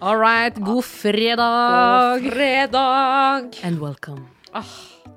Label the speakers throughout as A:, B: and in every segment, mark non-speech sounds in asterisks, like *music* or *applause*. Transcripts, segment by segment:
A: All right, god fredag!
B: fredag!
A: And welcome.
B: Ah,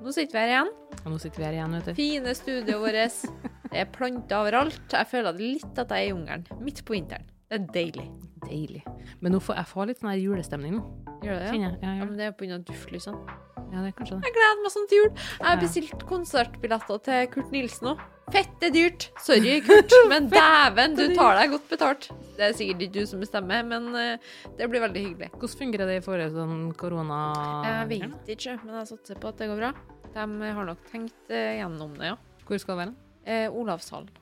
B: Nå sitter vi her igjen.
A: Og nå sitter vi her igjen, vet du.
B: Fine studioet *laughs* vårt. Det er planter overalt. Jeg føler det litt at jeg er i jungelen. Midt på vinteren. Det er deilig.
A: Deilig. Men nå får jeg får litt sånn her julestemning nå.
B: Gjør det det?
A: Kjenner jeg. Ja,
B: Ja,
A: ja.
B: men det er pga. duftlysene.
A: ja, det er kanskje det.
B: sånn. Jeg gleder meg sånn til jul. Jeg har
A: Ja.
B: bestilt konsertbilletter til Kurt Nilsen òg. Fette dyrt. Sorry, *laughs* Kurt, men dæven, du tar deg godt betalt. Det er sikkert ikke du som bestemmer, men eh, det blir veldig hyggelig.
A: Hvordan fungerer det i forhold til sånn korona...
B: Jeg vet ikke, men jeg satser på at det går bra. De har nok tenkt eh, gjennom det, ja.
A: Hvor skal det være?
B: Eh, Olavshallen.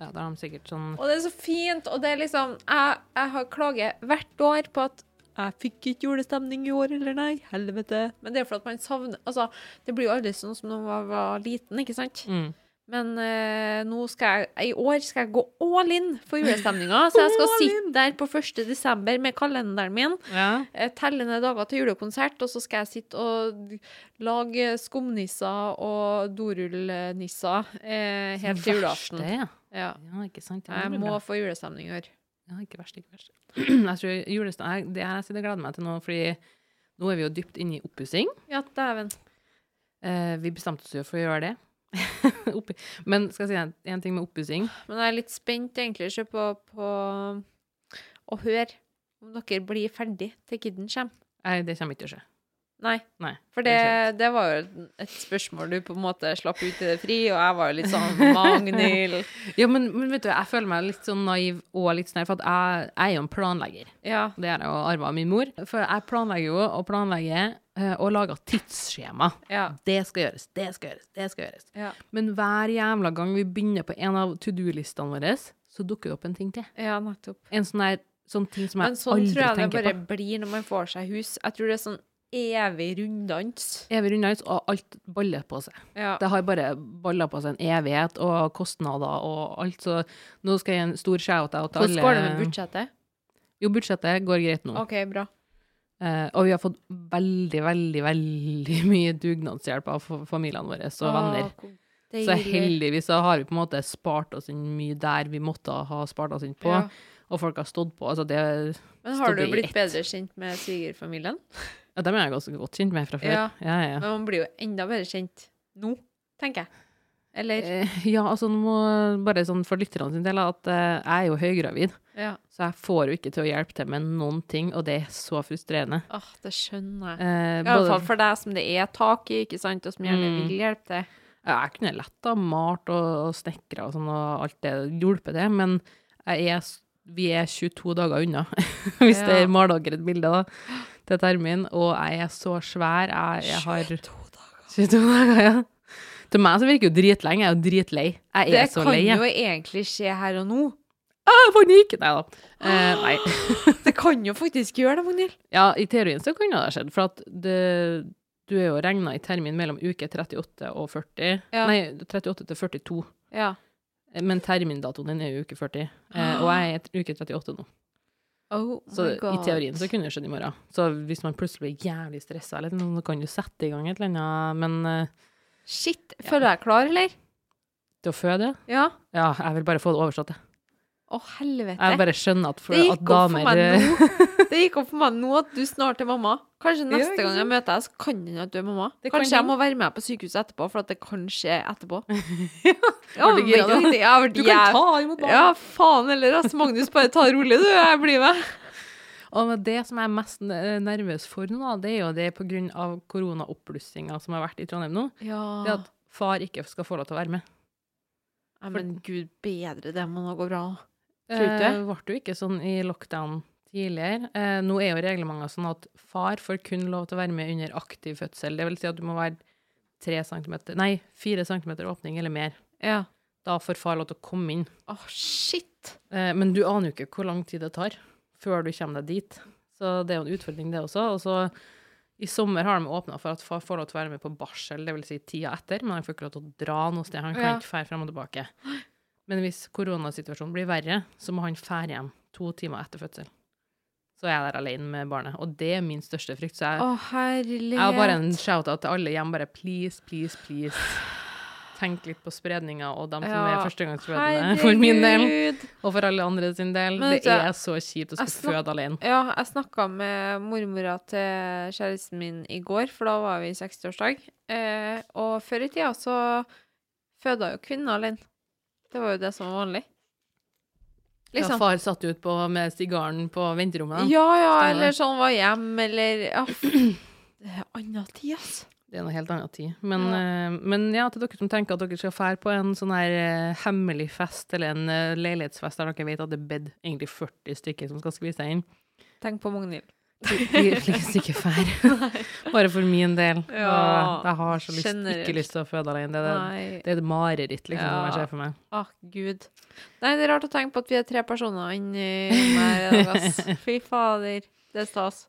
A: Ja, da har de sikkert sånn...
B: Og det er så fint, og det er liksom Jeg, jeg har klaget hvert år på at jeg fikk ikke julestemning i år, eller nei, helvete. Men det er fordi at man savner Altså, det blir jo aldri sånn som når man var liten, ikke sant?
A: Mm.
B: Men eh, nå skal jeg, i år skal jeg gå all in for julestemninga. Så jeg skal
A: All
B: sitte der på 1. desember med kalenderen min,
A: Ja.
B: eh, telle ned dager til julekonsert, og så skal jeg sitte og lage skumnisser og dorullnisser eh, helt til julaften.
A: Verste, ja.
B: Ja.
A: Ja, ikke sant. Ja, det
B: Jeg
A: blir
B: må
A: bra.
B: få julestemning i år.
A: Ja, ikke verst, ikke verst. *clears throat* jeg tror julestemning... jeg- Det er jeg sitter og gleder meg til nå, fordi nå er vi jo dypt inne i oppussing.
B: Ja, dæven.
A: Eh, vi bestemte oss jo for å gjøre det. *laughs* Oppi- Men skal jeg si en, en ting med oppussing?
B: Men jeg er litt spent egentlig ikke på, på å høre om dere blir ferdig til kidden kommer.
A: Nei, det kommer ikke til å skje.
B: Nei.
A: Nei,
B: For
A: det
B: det,
A: skjer
B: det var jo et spørsmål du på en måte slapp ut i det fri, og jeg var jo litt sånn Magnhild.
A: *laughs* Ja, men, men vet du, jeg føler meg litt sånn naiv og litt sånn her, for at jeg, jeg er jo en planlegger.
B: Ja.
A: Det er jeg jo arvet av min mor. For jeg planlegger jo og planlegger eh, og lager tidsskjema.
B: Ja.
A: Det skal gjøres, det skal gjøres, det skal gjøres.
B: Ja.
A: Men hver jævla gang vi begynner på en av to do-listene våre, så dukker det opp en ting til.
B: ja, nettopp.
A: En sånn der, sånn ting som jeg
B: Men sånn
A: aldri
B: tror jeg det
A: tenker
B: bare
A: på.
B: blir når man får seg hus. Jeg tror det er sånn evig runddans.
A: Evig runddans, og alt baller på seg.
B: Ja.
A: Det har bare balla på seg en evighet, og kostnader og alt, så nå skal jeg gi en stor shout-out til alle. Mm.
B: Hvordan går det med budsjettet?
A: Jo, budsjettet går greit nå.
B: OK, bra.
A: Eh, og vi har fått veldig, veldig, veldig *laughs* mye dugnadshjelp av fa- familiene våre og venner.
B: Å, hvor
A: Så
B: deilig.
A: heldigvis så har vi på en måte spart oss inn mye der vi måtte ha spart oss inn på,
B: Ja.
A: og folk har stått på. Altså det,
B: Men har du
A: Stod det i
B: blitt
A: ett.
B: bedre kjent med svigerfamilien?
A: ja, dem er jeg ganske godt kjent med fra før. Ja,
B: Ja.
A: ja. ja.
B: Men man blir jo enda bedre kjent nå, tenker jeg. Eller
A: Eh, ja altså nå må bare sånn for lytterne sin del at eh, jeg er jo høygravid,
B: Ja.
A: så jeg får jo ikke til å hjelpe til med noen ting, og det er så frustrerende.
B: Åh, det skjønner jeg.
A: Eh,
B: I alle
A: både,
B: fall for deg som det er tak i, ikke sant, og som gjerne
A: Mm.
B: vil hjelpe til.
A: ja, jeg kunne lett ha malt og, og snekra og sånn, og alt det hjulpet det, men jeg er, s- vi er 22 dager unna, *laughs* hvis det
B: Ja.
A: er maler dere et bilde da, til termin, og jeg er så svær. Jeg, jeg har 22 dager, ja. Til meg så virker det jo dritlenge, jeg er jo dritlei. Jeg
B: Det
A: er så
B: kan
A: lei. Jeg
B: jo egentlig skje her og nå.
A: har panikk! Nei da. Eh, nei.
B: Det kan jo faktisk gjøre det, Magnhild.
A: Ja, i teorien så kunne det ha skjedd, for at det, du er jo regna i termin mellom uke 38 og 40.
B: Ja.
A: Nei, 38 til 42.
B: Ja.
A: Eh, Men termindatoen din er jo uke 40, eh, og jeg er i uke 38 nå.
B: Oh Ah. my
A: Så i
B: god.
A: teorien så kunne det skjedd i morgen. Så hvis man plutselig blir jævlig stressa, eller noe, så kan du sette i gang et eller annet, men eh,
B: Shit. Føler jeg klar, eller?
A: til å føde
B: Ja.
A: Ja, jeg vil bare få det oversatt, jeg.
B: Å, helvete.
A: Jeg bare skjønner at, for,
B: Det gikk
A: at
B: opp for
A: damer eh,
B: meg Det gikk opp for meg nå at du snart er mamma. Kanskje
A: Ja,
B: neste
A: ikke
B: gang jeg møter deg, så kan det hende at du er mamma.
A: Det kan
B: Kanskje jeg
A: hende.
B: må være med på sykehuset etterpå, for at det kan skje
A: *laughs*
B: etterpå.
A: Var du gira da?
B: veldig- ja, jeg
A: *laughs*
B: ble
A: Du kan
B: jæv-
A: ta imot barn!
B: Ja, faen heller, ass. Magnus, bare ta det rolig, du. Jeg blir med.
A: Og det som jeg er mest eh, nervøs for nå, da, det er jo det på grunn av koronaoppblussinga som har vært i Trondheim nå, det er
B: Ja.
A: at far ikke skal få lov til å være med.
B: Nei, men gud bedre, det må nå gå bra. Tror du
A: Eh, ble det jo ikke sånn i lockdown tidligere. Eh, nå er jo reglementet sånn at far får kun lov til å være med under aktiv fødsel. Det vil si at du må være tre centimeter, nei, fire centimeter åpning eller mer.
B: Ja.
A: Da får far lov til å komme inn.
B: Å, shit.
A: Eh, Men du aner jo ikke hvor lang tid det tar før du kommer deg dit. Så det er jo en utfordring, det også. Og så i sommer har de åpna for at far får lov til å være med på barsel, dvs. Si tida etter, men han får ikke lov til å dra noe sted. Han kan
B: Ja.
A: ikke fære frem og tilbake. Men hvis koronasituasjonen blir verre, så må han fære hjem to timer etter fødsel. Så er jeg der alene med barnet. Og det er min største frykt. Så jeg,
B: Å, herlighet.
A: jeg har bare en shout-out til alle hjem, bare please, please, please. tenke litt på spredninga og dem som
B: Ja.
A: er førstegangsfødende for min del, og for alle andre sin del.
B: Men vet
A: det
B: du,
A: er så kjipt å
B: jeg
A: skulle
B: snak-
A: føde alene.
B: Ja, jeg snakka med mormora til kjæresten min i går, for da var vi i 60-årsdag. Eh, og før i tida så føda jo kvinner alene. Det var jo det som var vanlig.
A: Ja,
B: Liksom.
A: far satt ut på, med sigaren på venterommet.
B: Ja, ja,
A: Stemmer.
B: eller sånn var hjemme, eller ja. *clears throat* Det er anna tid, altså.
A: Det er noe helt annet tid. Men
B: Ja.
A: ja. men ja, til dere som tenker at dere skal fære på en sånn her eh, hemmelig fest, eller en eh, leilighetsfest der dere vet at det er bedt egentlig 40 stykker som skal skvise
B: *laughs*
A: inn,
B: Tenk på Magnhild.
A: virkelig ikke fære. Bare for min del.
B: Ja.
A: Og Jeg har så lyst,
B: Generelt.
A: ikke lyst til å føde alene. Det er,
B: Nei.
A: det er et mareritt liksom, som jeg
B: Ja.
A: ser for meg.
B: Å, gud. Nei, det er rart å tenke på at vi er tre personer inni meg *laughs* i dag, ass. Fy fader. Det er stas.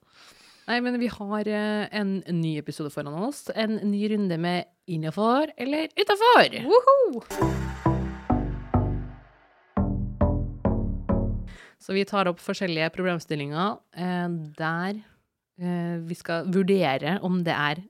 A: Nei, men vi har eh, en ny episode foran oss. En ny runde med innafor eller utafor.
B: Woho!
A: Så vi tar opp forskjellige problemstillinger eh, der eh, vi skal vurdere om det er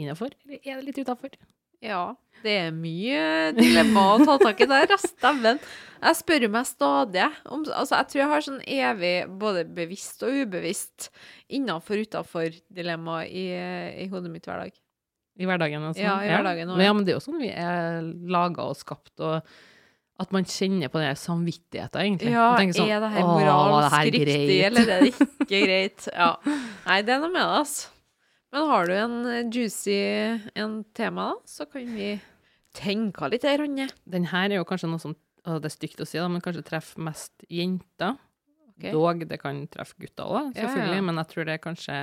A: innafor eller er det litt utafor.
B: Ja, det er mye dilemma å ta tak i der, ass. Dæven. Jeg spør meg stadig om Altså, jeg tror jeg har sånn evig både bevisst og ubevisst innafor utafor dilemma i, i hodet mitt hver dag.
A: I hverdagen, altså.
B: Ja, i hverdagen også,
A: Men,
B: ja.
A: ja, men det er jo sånn vi er laga og skapt, og at man kjenner på den der samvittigheten, egentlig.
B: Ja,
A: Man
B: er
A: tenker sånn,
B: det her
A: «Åh, var
B: moralsk
A: det her
B: riktig,
A: greit?»
B: eller er det ikke greit? Ja. Nei, det er noe med det, ass. Men har du en eh, juicy en tema, da, så kan vi tenke litt her, Hanne.
A: Den her er jo kanskje noe som å, Det er stygt å si, da, men kanskje treffer mest jenter.
B: Ok.
A: Dog det kan treffe gutter òg,
B: Ja, ja.
A: selvfølgelig, men jeg tror det er kanskje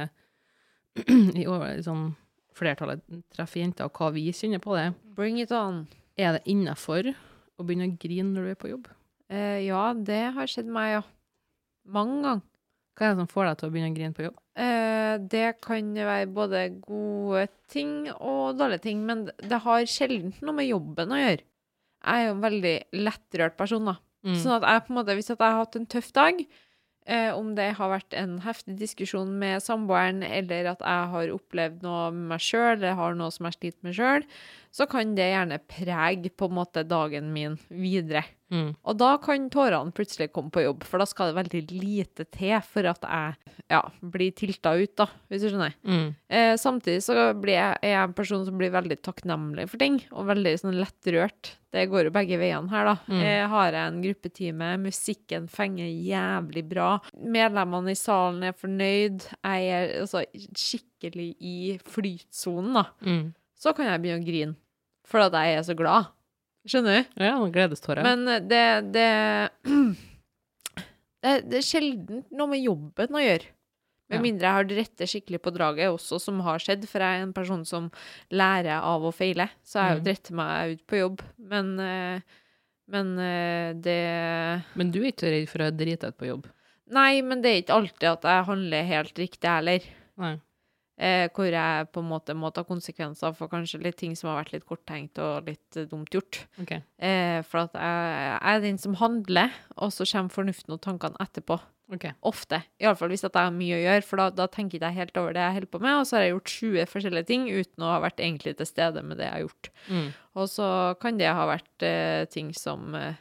A: *clears throat* i over, sånn, flertallet treffer jenter, og hva vi kjenner på det.
B: Bring it on.
A: Er det innafor å begynne å grine når du er på jobb?
B: Eh, ja, det har skjedd meg, ja. Mange ganger.
A: Hva er det som får deg til å begynne å grine på jobb?
B: Eh, det kan være både gode ting og dårlige ting, men det har sjelden noe med jobben å gjøre. Jeg er jo en veldig lettrørt person, da.
A: Mm.
B: Sånn at jeg på en måte, hvis at jeg har hatt en tøff dag, eh, om det har vært en heftig diskusjon med samboeren, eller at jeg har opplevd noe med meg sjøl, eller har noe som jeg sliter med sjøl, så kan det gjerne prege på en måte dagen min videre.
A: Mm.
B: Og da kan tårene plutselig komme på jobb, for da skal det veldig lite til for at jeg ja, blir tilta ut, da, hvis du skjønner.
A: Mm.
B: Eh, samtidig så blir jeg, er jeg en person som blir veldig takknemlig for ting, og veldig sånn lettrørt. Det går jo begge veiene her, da.
A: Mm.
B: Eh, har jeg en gruppetime, musikken fenger jævlig bra, medlemmene i salen er fornøyd, jeg er altså skikkelig i flytsonen, da.
A: Mm.
B: Så kan jeg begynne å grine, for at jeg er så glad. Skjønner du?
A: Ja, noen gledestårer.
B: Men eh, det det, *clears throat* det det er sjelden noe med jobben å gjøre. Med
A: Ja.
B: mindre jeg har det rette skikkelig på draget også, som har skjedd. For jeg er en person som lærer av å feile, så jeg har jo
A: Mm.
B: dritt meg ut på jobb. Men, eh, men eh, det
A: men du er ikke redd for å drite deg ut på jobb?
B: Nei, men det er ikke alltid at jeg handler helt riktig heller.
A: Nei.
B: Eh, hvor jeg på en måte må ta konsekvenser for kanskje litt ting som har vært litt korttenkt og litt eh, dumt gjort.
A: OK.
B: Eh, for at jeg, jeg er den som handler, og så kommer fornuften og tankene etterpå.
A: ok.
B: Ofte. Iallfall hvis at jeg har mye å gjøre, for da, da tenker ikke jeg helt over det jeg holder på med, og så har jeg gjort 20 forskjellige ting uten å ha vært egentlig til stede med det jeg har gjort.
A: Mm.
B: Og så kan det ha vært eh, ting som eh,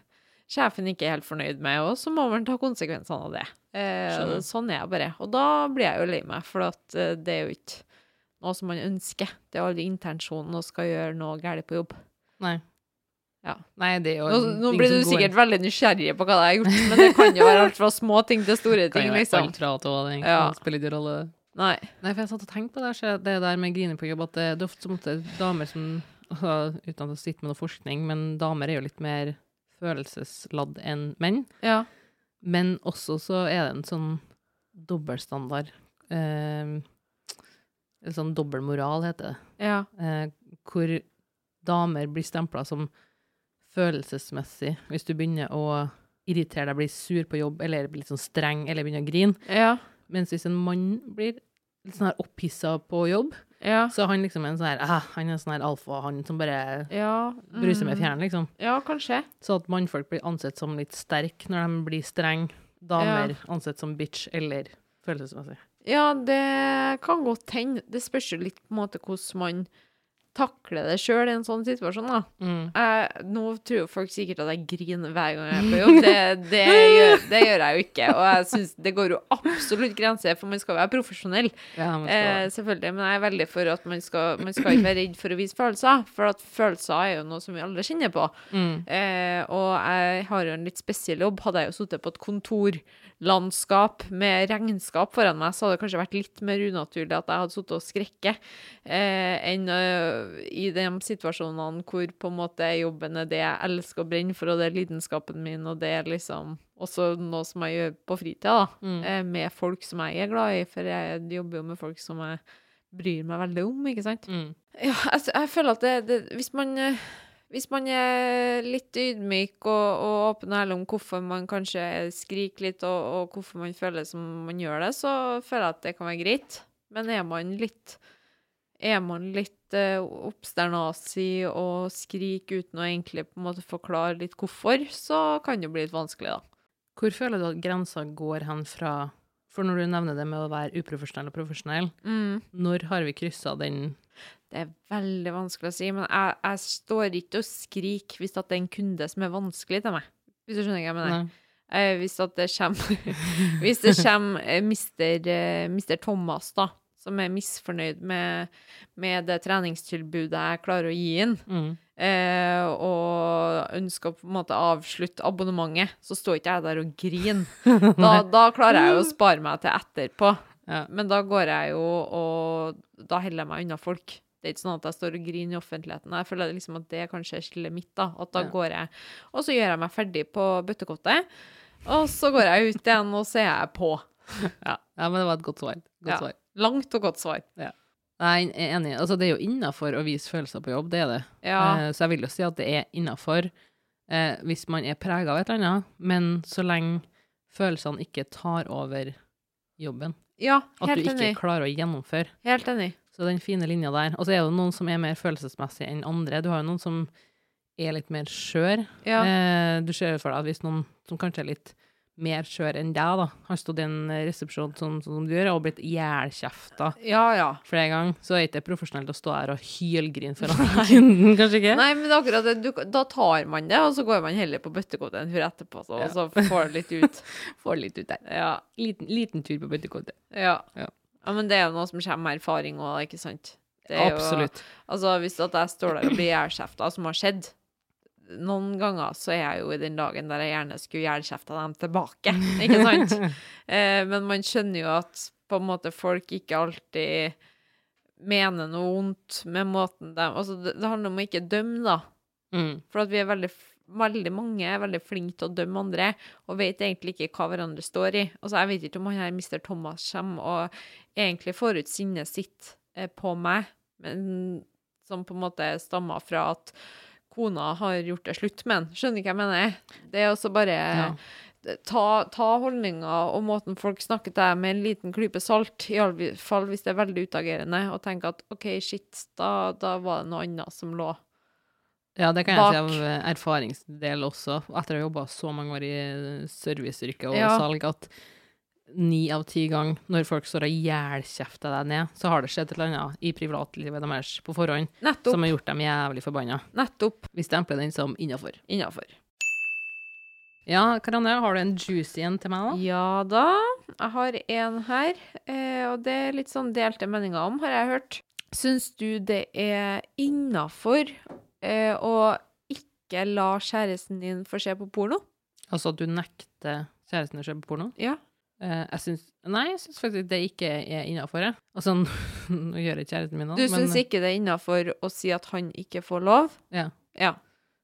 B: sjefen ikke er helt fornøyd med, og så må man ta konsekvensene av det. Eh,
A: Skjønner.
B: sånn er jeg bare. Og da blir jeg jo lei meg, for at eh, det er jo ikke noe som man ønsker. Det er aldri intensjonen å skal gjøre noe galt på jobb.
A: Nei.
B: Ja.
A: Nei, det er jo
B: Nå, nå
A: ting
B: blir
A: som
B: du
A: går-
B: sikkert veldig nysgjerrig på hva jeg har gjort, men det kan jo være alt fra små ting til store
A: *laughs* Kan
B: ting,
A: jo være
B: liksom.
A: alt fra A til Å, det egentlig.
B: Ja.
A: Det spiller ikke rolle.
B: Nei.
A: Nei, for jeg satt og tenkte på det, så det der med grine på jobb, at det, det er ofte som ofte damer som altså, Uten at jeg sitter med noe forskning, men damer er jo litt mer følelsesladd enn menn.
B: Ja.
A: Men også så er det en sånn dobbeltstandard eh, En sånn dobbeltmoral, heter det.
B: Ja.
A: Eh, hvor damer blir stempla som følelsesmessig hvis du begynner å irritere deg, bli sur på jobb, eller bli litt sånn streng, eller begynner å grine.
B: Ja.
A: Mens hvis en mann blir litt sånn her opphissa på jobb,
B: Ja.
A: så han liksom er en sånn her ah, Han er en sånn her alfa, han som bare
B: ja.
A: bruser med
B: mm.
A: fjæren, liksom.
B: Ja, kanskje.
A: Så at mannfolk blir ansett som litt sterk når de blir streng. Damer ansett som bitch eller følelsesmessig.
B: Ja, det kan godt hende. Det spørs jo litt på en måte hvordan man takle det sjøl i en sånn situasjon, da.
A: Mm.
B: Jeg, nå tror jo folk sikkert at jeg griner hver gang jeg er på jobb. Det,
A: *laughs*
B: det, gjør, det gjør jeg jo ikke. Og jeg synes det går jo absolutt grenser, for man skal være profesjonell.
A: Ja, men
B: Eh,
A: skal,
B: selvfølgelig. Men jeg er veldig for at man skal, man skal ikke være redd for å vise følelser, for at følelser er jo noe som vi alle kjenner på.
A: mm.
B: Eh, og jeg har jo en litt spesiell jobb. Hadde jeg jo sittet på et kontorlandskap med regnskap foran meg, så hadde det kanskje vært litt mer unaturlig at jeg hadde sittet og skrekket, eh, enn eh, i de situasjonene hvor på en måte jobben er det jeg elsker å brenne for, og det er lidenskapen min, og det er liksom også noe som jeg gjør på fritida, da,
A: Mm.
B: eh, med folk som jeg er glad i, for jeg jobber jo med folk som jeg bryr meg veldig om, ikke sant?
A: Mm.
B: Ja, altså, jeg føler at det, det hvis, man, eh, hvis man er litt ydmyk og, og åpen og ærlig om hvorfor man kanskje skriker litt, og, og hvorfor man føler som man gjør det, så føler jeg at det kan være greit. Men er man litt er man litt eh, oppsternasig og skriker uten å egentlig på en måte forklare litt hvorfor, så kan det bli litt vanskelig, da.
A: Hvor føler du at grensa går hen fra For når du nevner det med å være uprofesjonell og profesjonell,
B: Mm.
A: når har vi kryssa den
B: Det er veldig vanskelig å si, men jeg, jeg står ikke og skriker hvis at det er en kunde som er vanskelig til meg. Hvis du skjønner hva jeg mener?
A: Nei.
B: Eh, hvis at det kommer *laughs* Hvis det kommer eh, mister, eh, mister Thomas, da, som er misfornøyd med, med det treningstilbudet jeg klarer å gi ham,
A: *laughs* Mm.
B: eh, og ønsker å på en måte avslutte abonnementet, så står ikke jeg der og griner. *laughs* Da, da klarer jeg jo å spare meg til etterpå.
A: Mm. Ja.
B: Men da går jeg jo og Da holder jeg meg unna folk. Det er ikke sånn at jeg står og griner i offentligheten. Jeg føler liksom at det kanskje er skillet mitt, da. At da
A: Ja.
B: går jeg Og så gjør jeg meg ferdig på bøttekottet, og så går jeg ut igjen, og så er jeg på.
A: Ja. ja, men det var et godt svar. Godt
B: Ja.
A: svar.
B: Langt og godt svar.
A: Nei, jeg er enig. Altså, det er jo innafor å vise følelser på jobb, det er det.
B: Ja.
A: Eh, Så jeg vil jo si at det er innafor eh, hvis man er prega av et eller annet, men så lenge følelsene ikke tar over jobben.
B: ja
A: At du
B: helt
A: ikke
B: enig.
A: klarer å gjennomføre.
B: Helt enig.
A: Så den fine linja der. Og så er det jo noen som er mer følelsesmessige enn andre. Du har jo noen som er litt mer skjør.
B: Ja.
A: Eh, du ser jo for deg at hvis noen som kanskje er litt mer skjør enn deg, da, har stått i en resepsjon som, som du gjør, og blitt ihjelkjefta
B: ja, ja.
A: flere ganger, så er det ikke profesjonelt å stå her og hylgrine foran
B: *laughs*
A: kunden, kanskje ikke?
B: Nei, men det er akkurat det. Du, da tar man det, og så går man heller på bøttekottet en tur etterpå, så,
A: Ja.
B: og så får det litt ut.
A: *laughs* Får litt ut der.
B: Ja.
A: Liten, liten tur på bøttekortet.
B: Ja.
A: Ja.
B: ja. Men det er jo noe som kommer med erfaring òg, ikke sant? Det er jo- *laughs*
A: Absolutt.
B: Altså, hvis at jeg står der og blir jævlkjefta, som har skjedd Noen ganger så er jeg jo i den dagen der jeg gjerne skulle jævlkjefta dem tilbake, ikke sant? eh, men man skjønner jo at på en måte folk ikke alltid mener noe vondt med måten de Altså, det, det handler om å ikke dømme, da.
A: Mm.
B: For at vi er veldig, f- veldig mange er veldig flinke til å dømme andre, og vet egentlig ikke hva hverandre står i. Altså, jeg vet ikke om han her Mr. Thomas kommer og egentlig får ut sinnet sitt eh, på meg, men som på en måte stammer fra at kona har gjort det slutt med han. Skjønner ikke hva jeg mener? Det er også bare
A: Ja.
B: ta, ta holdninger og måten folk snakker til deg med en liten klype salt, i alle fall hvis det er veldig utagerende, og tenke at OK, shit, da, da var det noe annet som lå
A: Ja, det kan jeg
B: Bak.
A: si av eh, erfaringsdel også. Etter å ha jobba så mange år i eh, serviceyrket og
B: Ja.
A: salg, at ni av ti ganger når folk står og jælkjefter deg ned, så har det skjedd et eller annet i privatlivet deres på forhånd
B: Nettopp.
A: som har gjort dem jævlig forbanna.
B: Nettopp
A: Vi stempler den som innafor.
B: innafor.
A: Ja, Karanne, har du en juicy en til meg, da?
B: Ja da. Jeg har en her, eh, og det er litt sånn delte meninger om, har jeg hørt. Syns du det er innafor eh, å ikke la kjæresten din få se på porno?
A: Altså at du nekter kjæresten å se på porno?
B: Ja.
A: Eh, jeg syns Nei, jeg syns faktisk det ikke er innafor, jeg. Altså, *laughs* nå gjør ikke kjæresten min noe,
B: Du syns ikke det er innafor å si at han ikke får lov?
A: Ja.
B: Ja.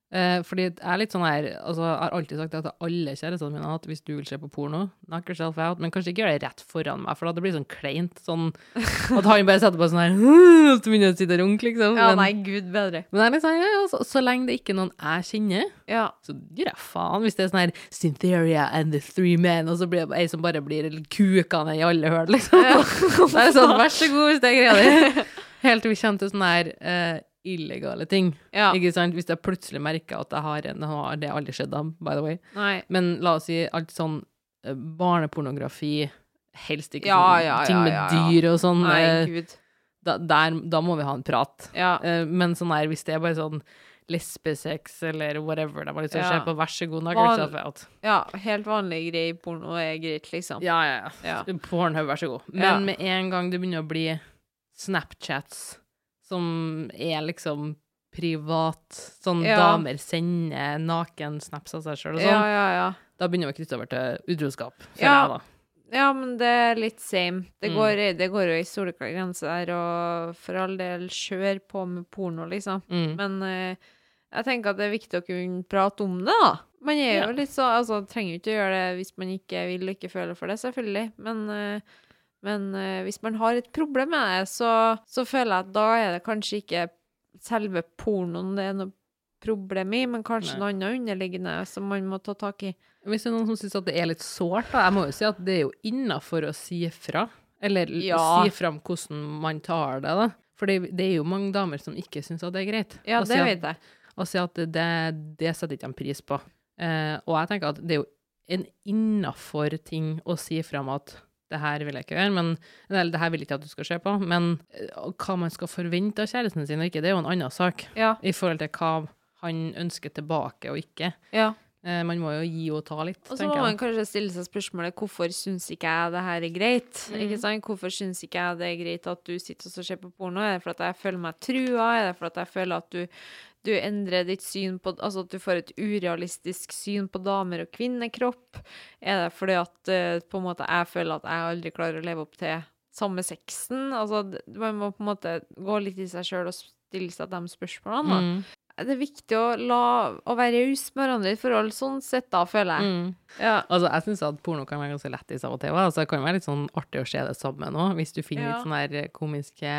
A: Eh, fordi jeg er litt sånn her altså, Jeg har alltid sagt det til alle kjærestene mine at hvis du vil se på porno, knock yourself out, men kanskje ikke gjør det rett foran meg, for da det blir sånn kleint. Sånn at han bare setter på sånn her *laughs* Og så begynner han å sitte og runke, liksom.
B: Ja,
A: men,
B: nei, gud bedre.
A: men jeg er litt sånn, ja, ja, så, så lenge det ikke er noen jeg kjenner,
B: *laughs* Ja.
A: så gir jeg faen. Hvis det er sånn her Cyntheria and the Three Men, og så blir det ei som bare blir kukende i alle høl, liksom. Det er sånn, vær så god, hvis det er greia di. *laughs* Helt til vi kommer til sånne her eh, illegale ting.
B: Ja.
A: Ikke sant? Hvis jeg plutselig merker at jeg har en Nå har det aldri skjedd, da, by the way.
B: Nei.
A: Men la oss si alt sånn eh, barnepornografi, helst ikke
B: Ja,
A: sånn
B: ja,
A: ting
B: ja,
A: med
B: ja, ja.
A: dyr og sånn.
B: Nei,
A: eh,
B: gud.
A: da, der, da må vi ha en prat.
B: Ja.
A: Eh, men sånn her, hvis det er bare sånn lesbesex eller whatever, da må liksom
B: Ja.
A: se på vær så god dag,
B: Van-
A: liksom, for at-
B: ja, helt vanlig greie porno er greit, liksom.
A: Ja, ja, ja.
B: Ja.
A: Pornhub, vær så god. Men
B: Ja.
A: med en gang det begynner å bli Snapchats som er liksom privat, sånn
B: Ja.
A: damer sender naken-snaps av seg sjøl og sånn,
B: ja, ja, ja.
A: da begynner vi å knytte over til utroskap. føler
B: Ja.
A: jeg da.
B: Ja, men det er litt same. Det
A: Mm.
B: går, det går jo i soleklar grense der, og for all del, kjør på med porno, liksom.
A: Mm.
B: Men eh, jeg tenker at det er viktig å kunne prate om det, da. Man er
A: Ja.
B: jo litt så Altså, trenger jo ikke å gjøre det hvis man ikke vil og ikke føler for det, selvfølgelig. Men, eh, men eh, hvis man har et problem med det, så, så føler jeg at da er det kanskje ikke selve pornoen det er noe problem i, men kanskje
A: Nei.
B: noe annet underliggende som man må ta tak i.
A: Hvis det er noen som syns at det er litt sårt, da, jeg må jo si at det er jo innafor å si fra. Eller l-
B: Ja.
A: si fram hvordan man tar det, da. For det, det er jo mange damer som ikke syns at det er greit.
B: Ja,
A: Å si
B: det
A: at-
B: vet jeg.
A: Å si at det, det setter ikke de pris på. Eh, og jeg tenker at det er jo en innafor ting å si fram at det her vil jeg ikke gjøre, men, eller det her vil jeg ikke at du skal se på, men eh, hva man skal forvente av kjæresten sin og ikke, det er jo en annen sak
B: Ja.
A: i forhold til hva han ønsker tilbake og ikke.
B: ja.
A: Eh, man må jo gi og ta litt,
B: Og så må
A: tenker
B: man
A: jeg.
B: kanskje stille seg spørsmålet hvorfor syns ikke jeg det her er greit?
A: Mm.
B: Ikke sant? Hvorfor syns ikke jeg det er greit at du sitter og så ser på porno? Er det for at jeg føler meg trua? Er det for at jeg føler at du, du endrer ditt syn på Altså at du får et urealistisk syn på damer og kvinnekropp? Er det fordi at eh, på en måte jeg føler at jeg aldri klarer å leve opp til samme sexen? Altså d- man må på en måte gå litt i seg sjøl og stille seg de spørsmålene. da.
A: Mm,
B: Det er viktig å, la, å være raus med hverandre i et forhold, sånn sett, da, føler jeg.
A: mm.
B: Ja.
A: Altså, jeg syns at porno kan være ganske lættis av og til. hva? Altså, det kan være litt sånn artig å se det sammen òg, hvis du finner
B: Ja.
A: litt sånne her komiske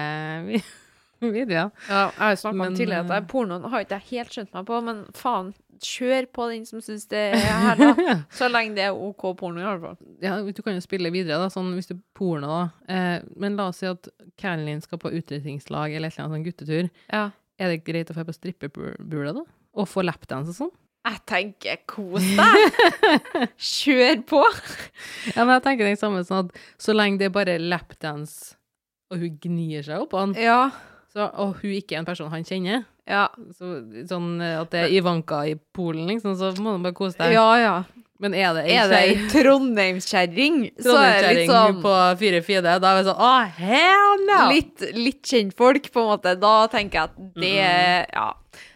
A: vi- *laughs* videoer.
B: Ja, jeg har jo snakket om
A: Men,
B: tidligere at
A: eh,
B: jeg, pornoen har ikke jeg helt skjønt meg på, men faen, kjør på den som syns det er her, da. *laughs*
A: *laughs*
B: Så lenge det er OK porno, i hvert fall.
A: ja, du kan jo spille videre, da, sånn hvis du porno, da. Eh, men la oss si at Caroline skal på utdrikningslag eller et eller annet sånn guttetur.
B: Ja.
A: Er det greit å få på strippebule, da? Og få lapdance og sånn?
B: Jeg tenker kos deg! *laughs* Kjør på!
A: Ja, men jeg tenker det samme sånn at så lenge det er bare lapdance, og hun gnir seg opp på han,
B: Ja.
A: så, og hun ikke er en person han kjenner,
B: Ja.
A: så, sånn eh, at det er Ivanka i Polen, liksom, så må du bare kose deg.
B: Ja, ja.
A: Men er det
B: Er det ei trondheimskjerring, så er det litt sånn
A: på 4-4, da er vi sånn Å, hell no!
B: litt, litt kjentfolk, på en måte. Da tenker jeg at det Ja.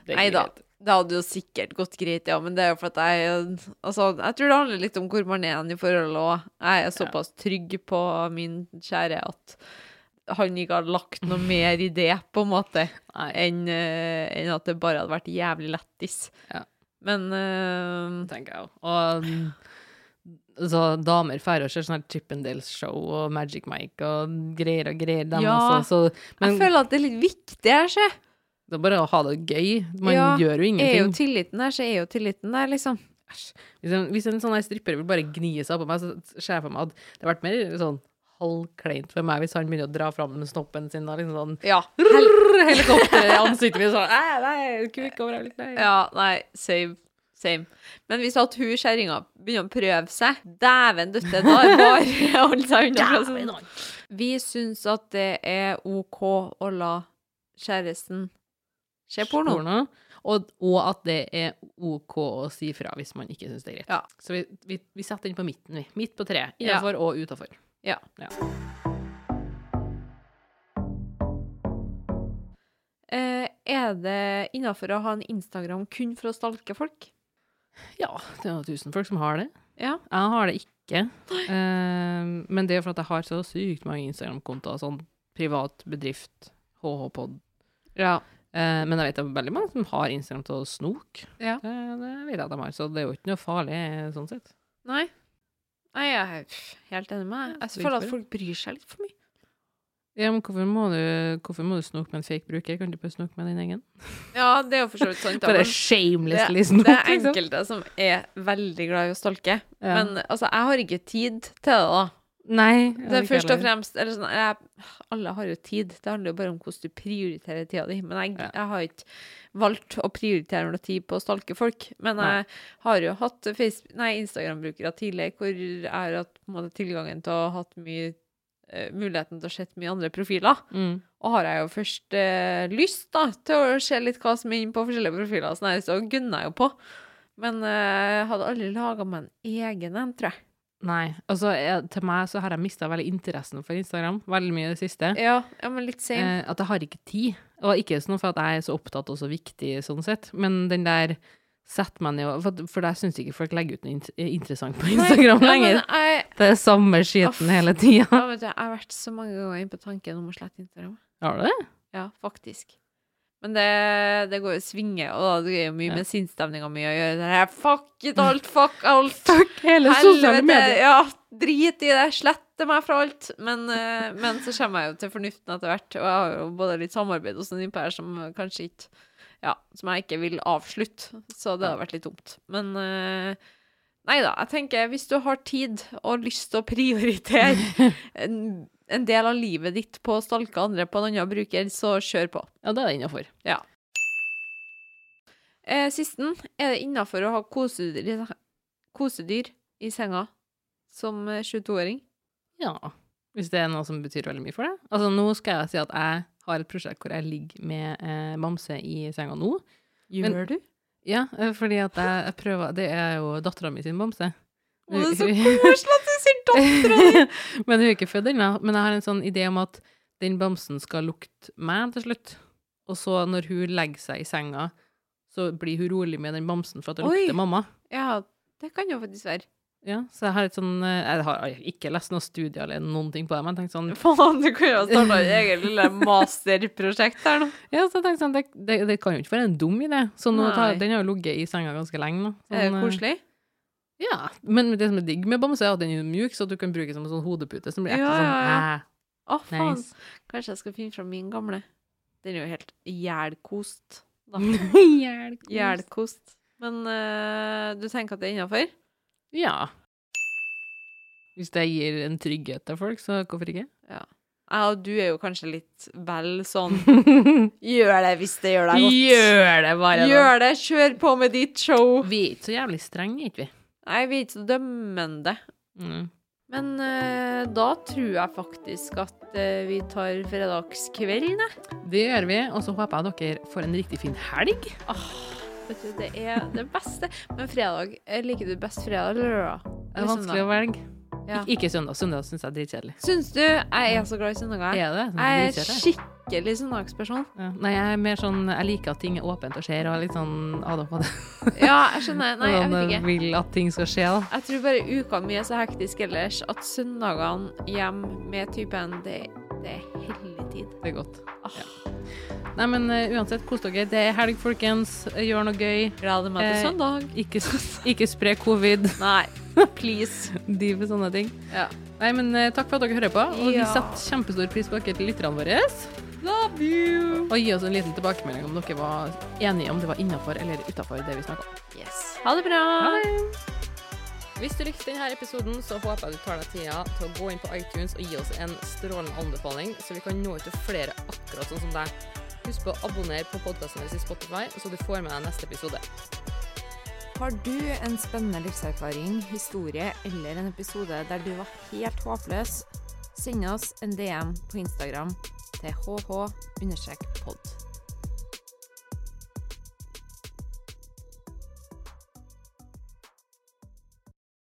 A: Det er ikke
B: Nei da.
A: greit.
B: Det hadde jo sikkert gått greit, ja, men det er jo for at jeg Altså, jeg tror det handler litt om hvor man er hen i forholdet òg. Jeg er såpass trygg på min kjære at han ikke har lagt noe mer i det, på en måte,
A: Nei.
B: enn eh, enn at det bare hadde vært jævlig lættis.
A: Ja.
B: Men eh,
A: tenker jeg også. Og mm, så damer feirer og ser sånn her Chippendales-show og Magic Mike og greier og greier, dem
B: Ja.
A: også. Så, men
B: jeg føler at det er litt viktig her, se.
A: det er bare å ha det gøy. Man
B: Ja,
A: gjør jo
B: Er jo
A: ingenting.
B: tilliten der, så er jo tilliten der, liksom.
A: Hvis en, hvis en sånn her stripper vil bare gni seg på meg, så ser jeg for meg at det har vært mer sånn halvkleint for meg hvis han begynner å dra fram med snoppen sin og liksom sånn
B: Ja.
A: *laughs* rrr, helikopter i ansiktet mitt sånn Æ, nei, kuk over alt, nei.
B: Ja, nei, same. Same. Men hvis at hun kjerringa begynner å prøve seg Dæven døtte, da er det bare *laughs* å holde seg unna. fra
A: Dæven,
B: sånt.
A: han.
B: Vi syns at det er OK å la kjæresten se porno.
A: porno, Og, og at det er OK å si fra hvis man ikke syns det er greit.
B: Ja.
A: Så vi, vi, vi setter den på midten, vi. Midt på treet. Innenfor og utafor.
B: Ja.
A: Ja.
B: Eh, er det innafor å ha en Instagram kun for å stalke folk?
A: ja, det er jo tusen folk som har det.
B: Ja.
A: Jeg har det ikke. Eh, men det er fordi jeg har så sykt mange Instagram-kontoer. Sånn privat bedrift, HH-pod.
B: Ja.
A: Eh, men jeg vet det er veldig mange som har Instagram til å snoke.
B: Ja.
A: Det, det vet jeg at de har, så det er jo ikke noe farlig sånn sett.
B: Nei. Nei, jeg er helt enig med deg. Jeg føler at folk bryr seg litt for mye.
A: Ja, men hvorfor må du, hvorfor må du snoke med en fake bruker? Kan du ikke bare snoke med din egen?
B: Ja, det er jo for så vidt sant. da,
A: Bare
B: men-
A: shamelessly
B: det,
A: snop,
B: det er
A: liksom.
B: enkelte som er veldig glad i å stalke.
A: Ja.
B: Men altså, jeg har ikke tid til det, da.
A: Nei.
B: Det er først og fremst eller sånn, jeg, Alle har jo tid. Det handler jo bare om hvordan du prioriterer tida di. Men jeg,
A: Ja.
B: jeg har ikke valgt å prioritere noe tid på å stalke folk. Men
A: Nei.
B: jeg har jo hatt Facebook- nei, Instagram-brukere tidligere hvor jeg har hatt på en måte, tilgangen til å ha hatt mye eh, muligheten til å se mye andre profiler.
A: Mm.
B: Og har jeg jo først eh, lyst da, til å se litt hva som er inne på forskjellige profiler, sånn her, så gunner jeg jo på. Men eh, jeg hadde aldri laga meg en egen en, tror jeg.
A: Nei. Altså, jeg, til meg så har jeg mista veldig interessen for Instagram, veldig mye i det siste.
B: Ja, ja men litt same.
A: Eh, at jeg har ikke tid. Og ikke sånn for at jeg er så opptatt og så viktig, sånn sett, men den der setter meg ned og For, for jeg syns ikke folk legger ut noe int- interessant på Instagram
B: Nei,
A: lenger.
B: Ja, men jeg,
A: Det er samme skiten
B: Aff.
A: hele tida.
B: ja, vet du, jeg har vært så mange ganger inne på tanken om å slette Instagram.
A: Har du det?
B: Ja, faktisk. Men det, det går jo i svinge, og da det er jo mye
A: Ja.
B: med sinnsstemninga mi å gjøre. Det her, fuck it alt, fuck alt.
A: Fuck hele sosiale medier.
B: Ja, drit i det. Slette meg fra alt. Men, eh, men så kommer jeg jo til fornuften etter hvert, og jeg har jo både litt samarbeid hos en innpær som kanskje ikke Ja, som jeg ikke vil avslutte, så det hadde vært litt dumt. Men eh, nei da, jeg tenker hvis du har tid og lyst til å prioritere en, en del av livet ditt på å stalke andre på en annen bruker, så kjør på.
A: Ja, det er innafor.
B: Eh, sisten, er det innafor å ha kosedyr, i se- kosedyr i senga som eh, 22-åring?
A: Ja. Hvis det er noe som betyr veldig mye for deg. Altså, nå skal jeg si at jeg har et prosjekt hvor jeg ligger med eh, bamse i senga nå. Gjør
B: du?
A: Ja, eh, fordi at jeg, jeg prøver Det er jo dattera mi sin bamse.
B: Å, det er så koselig at du sier dott!
A: *laughs* men hun er ikke født ennå. Men jeg har en sånn idé om at den bamsen skal lukte meg til slutt. Og så når hun legger seg i senga, så blir hun rolig med den bamsen for at det
B: Oi.
A: lukter mamma.
B: Ja, det kan jo faktisk være.
A: Ja, så jeg har et sånn eh, Jeg har ikke lest noen studier eller noen ting på det, men jeg tenkte sånn
B: Faen, du kunne jo ha starta et eget lille masterprosjekt her nå.
A: Ja, så jeg tenkte sånn, det, det, det kan jo ikke være en dum idé. Så nå tar,
B: Nei.
A: den har jo ligget i senga ganske lenge. nå. Sånn,
B: Er det
A: eh,
B: koselig?
A: Ja, men det som er digg med bamse, er at den er mjuk, så du kan bruke den som en sånn hodepute. Som blir ekte
B: Ja,
A: sånn
B: ja,
A: æ,
B: Å, faen. *laughs*
A: nice.
B: Kanskje jeg skal finne fram min gamle. Den er jo helt jælkost. da.
A: Hjelp.
B: Jælkost. Men eh, du tenker at det er innafor?
A: Ja. Hvis det gir en trygghet til folk, så hvorfor
B: *laughs*
A: ikke?
B: Ja, og du er jo kanskje litt vel sånn Gjør det hvis det gjør deg godt.
A: Gjør det bare, da.
B: Gjør det! Kjør på med ditt show!
A: Vi er ikke så jævlig strenge, er ikke vi?
B: Nei, vi er ikke så dømmende.
A: Mm.
B: Men eh, da tror jeg faktisk at eh, vi tar fredagskvelden, jeg.
A: Det gjør vi, og så håper jeg dere får en riktig fin helg.
B: Vet du, det er det beste. Men fredag, eh, liker du best fredag eller lørdag?
A: Det er vanskelig å velge.
B: Ja.
A: Ik ikke søndag. Søndag syns jeg er dritkjedelig.
B: Syns du jeg er så glad i søndager?
A: Er det?
B: Jeg er
A: Dritkjedelig.
B: skikkelig søndagsperson.
A: Ja. Nei, jeg er mer sånn Jeg liker at ting er åpent og skjer, og er litt sånn ADHD.
B: *laughs* Ja, jeg skjønner. Nei, jeg vet ikke.
A: Vil at ting skal skje, da.
B: Jeg tror bare ukene mine er så hektiske ellers at søndagene hjem med typen, det, det er hellig tid.
A: Det er godt.
B: Ah,
A: Nei, men eh, uansett, kos dere. Det er helg, folkens. Eh, Gjør noe gøy.
B: Gleder meg til
A: Eh,
B: søndag.
A: Ikke, *laughs* ikke spre covid. *laughs*
B: Nei, *laughs* please.
A: Driv med sånne ting.
B: Ja.
A: Nei, men eh, takk for at dere hører på, og vi
B: Ja.
A: setter kjempestor pris på dere til lytterne våre.
B: Love you!
A: Og gi oss en liten tilbakemelding om dere var enige om det var innafor eller utafor det vi snakka om.
B: Yes. Ha det bra!
A: Ha det! Hvis du likte denne episoden, så håper jeg du tar deg tida til å gå inn på iTunes og gi oss en strålende anbefaling, så vi kan nå ut til flere akkurat sånn som deg. Husk på å abonnere på podkasten vår i Spotify, så du får med deg neste episode.
C: Har du en spennende livserfaring, historie eller en episode der du var helt håpløs, send oss en DM på Instagram til hh-pod.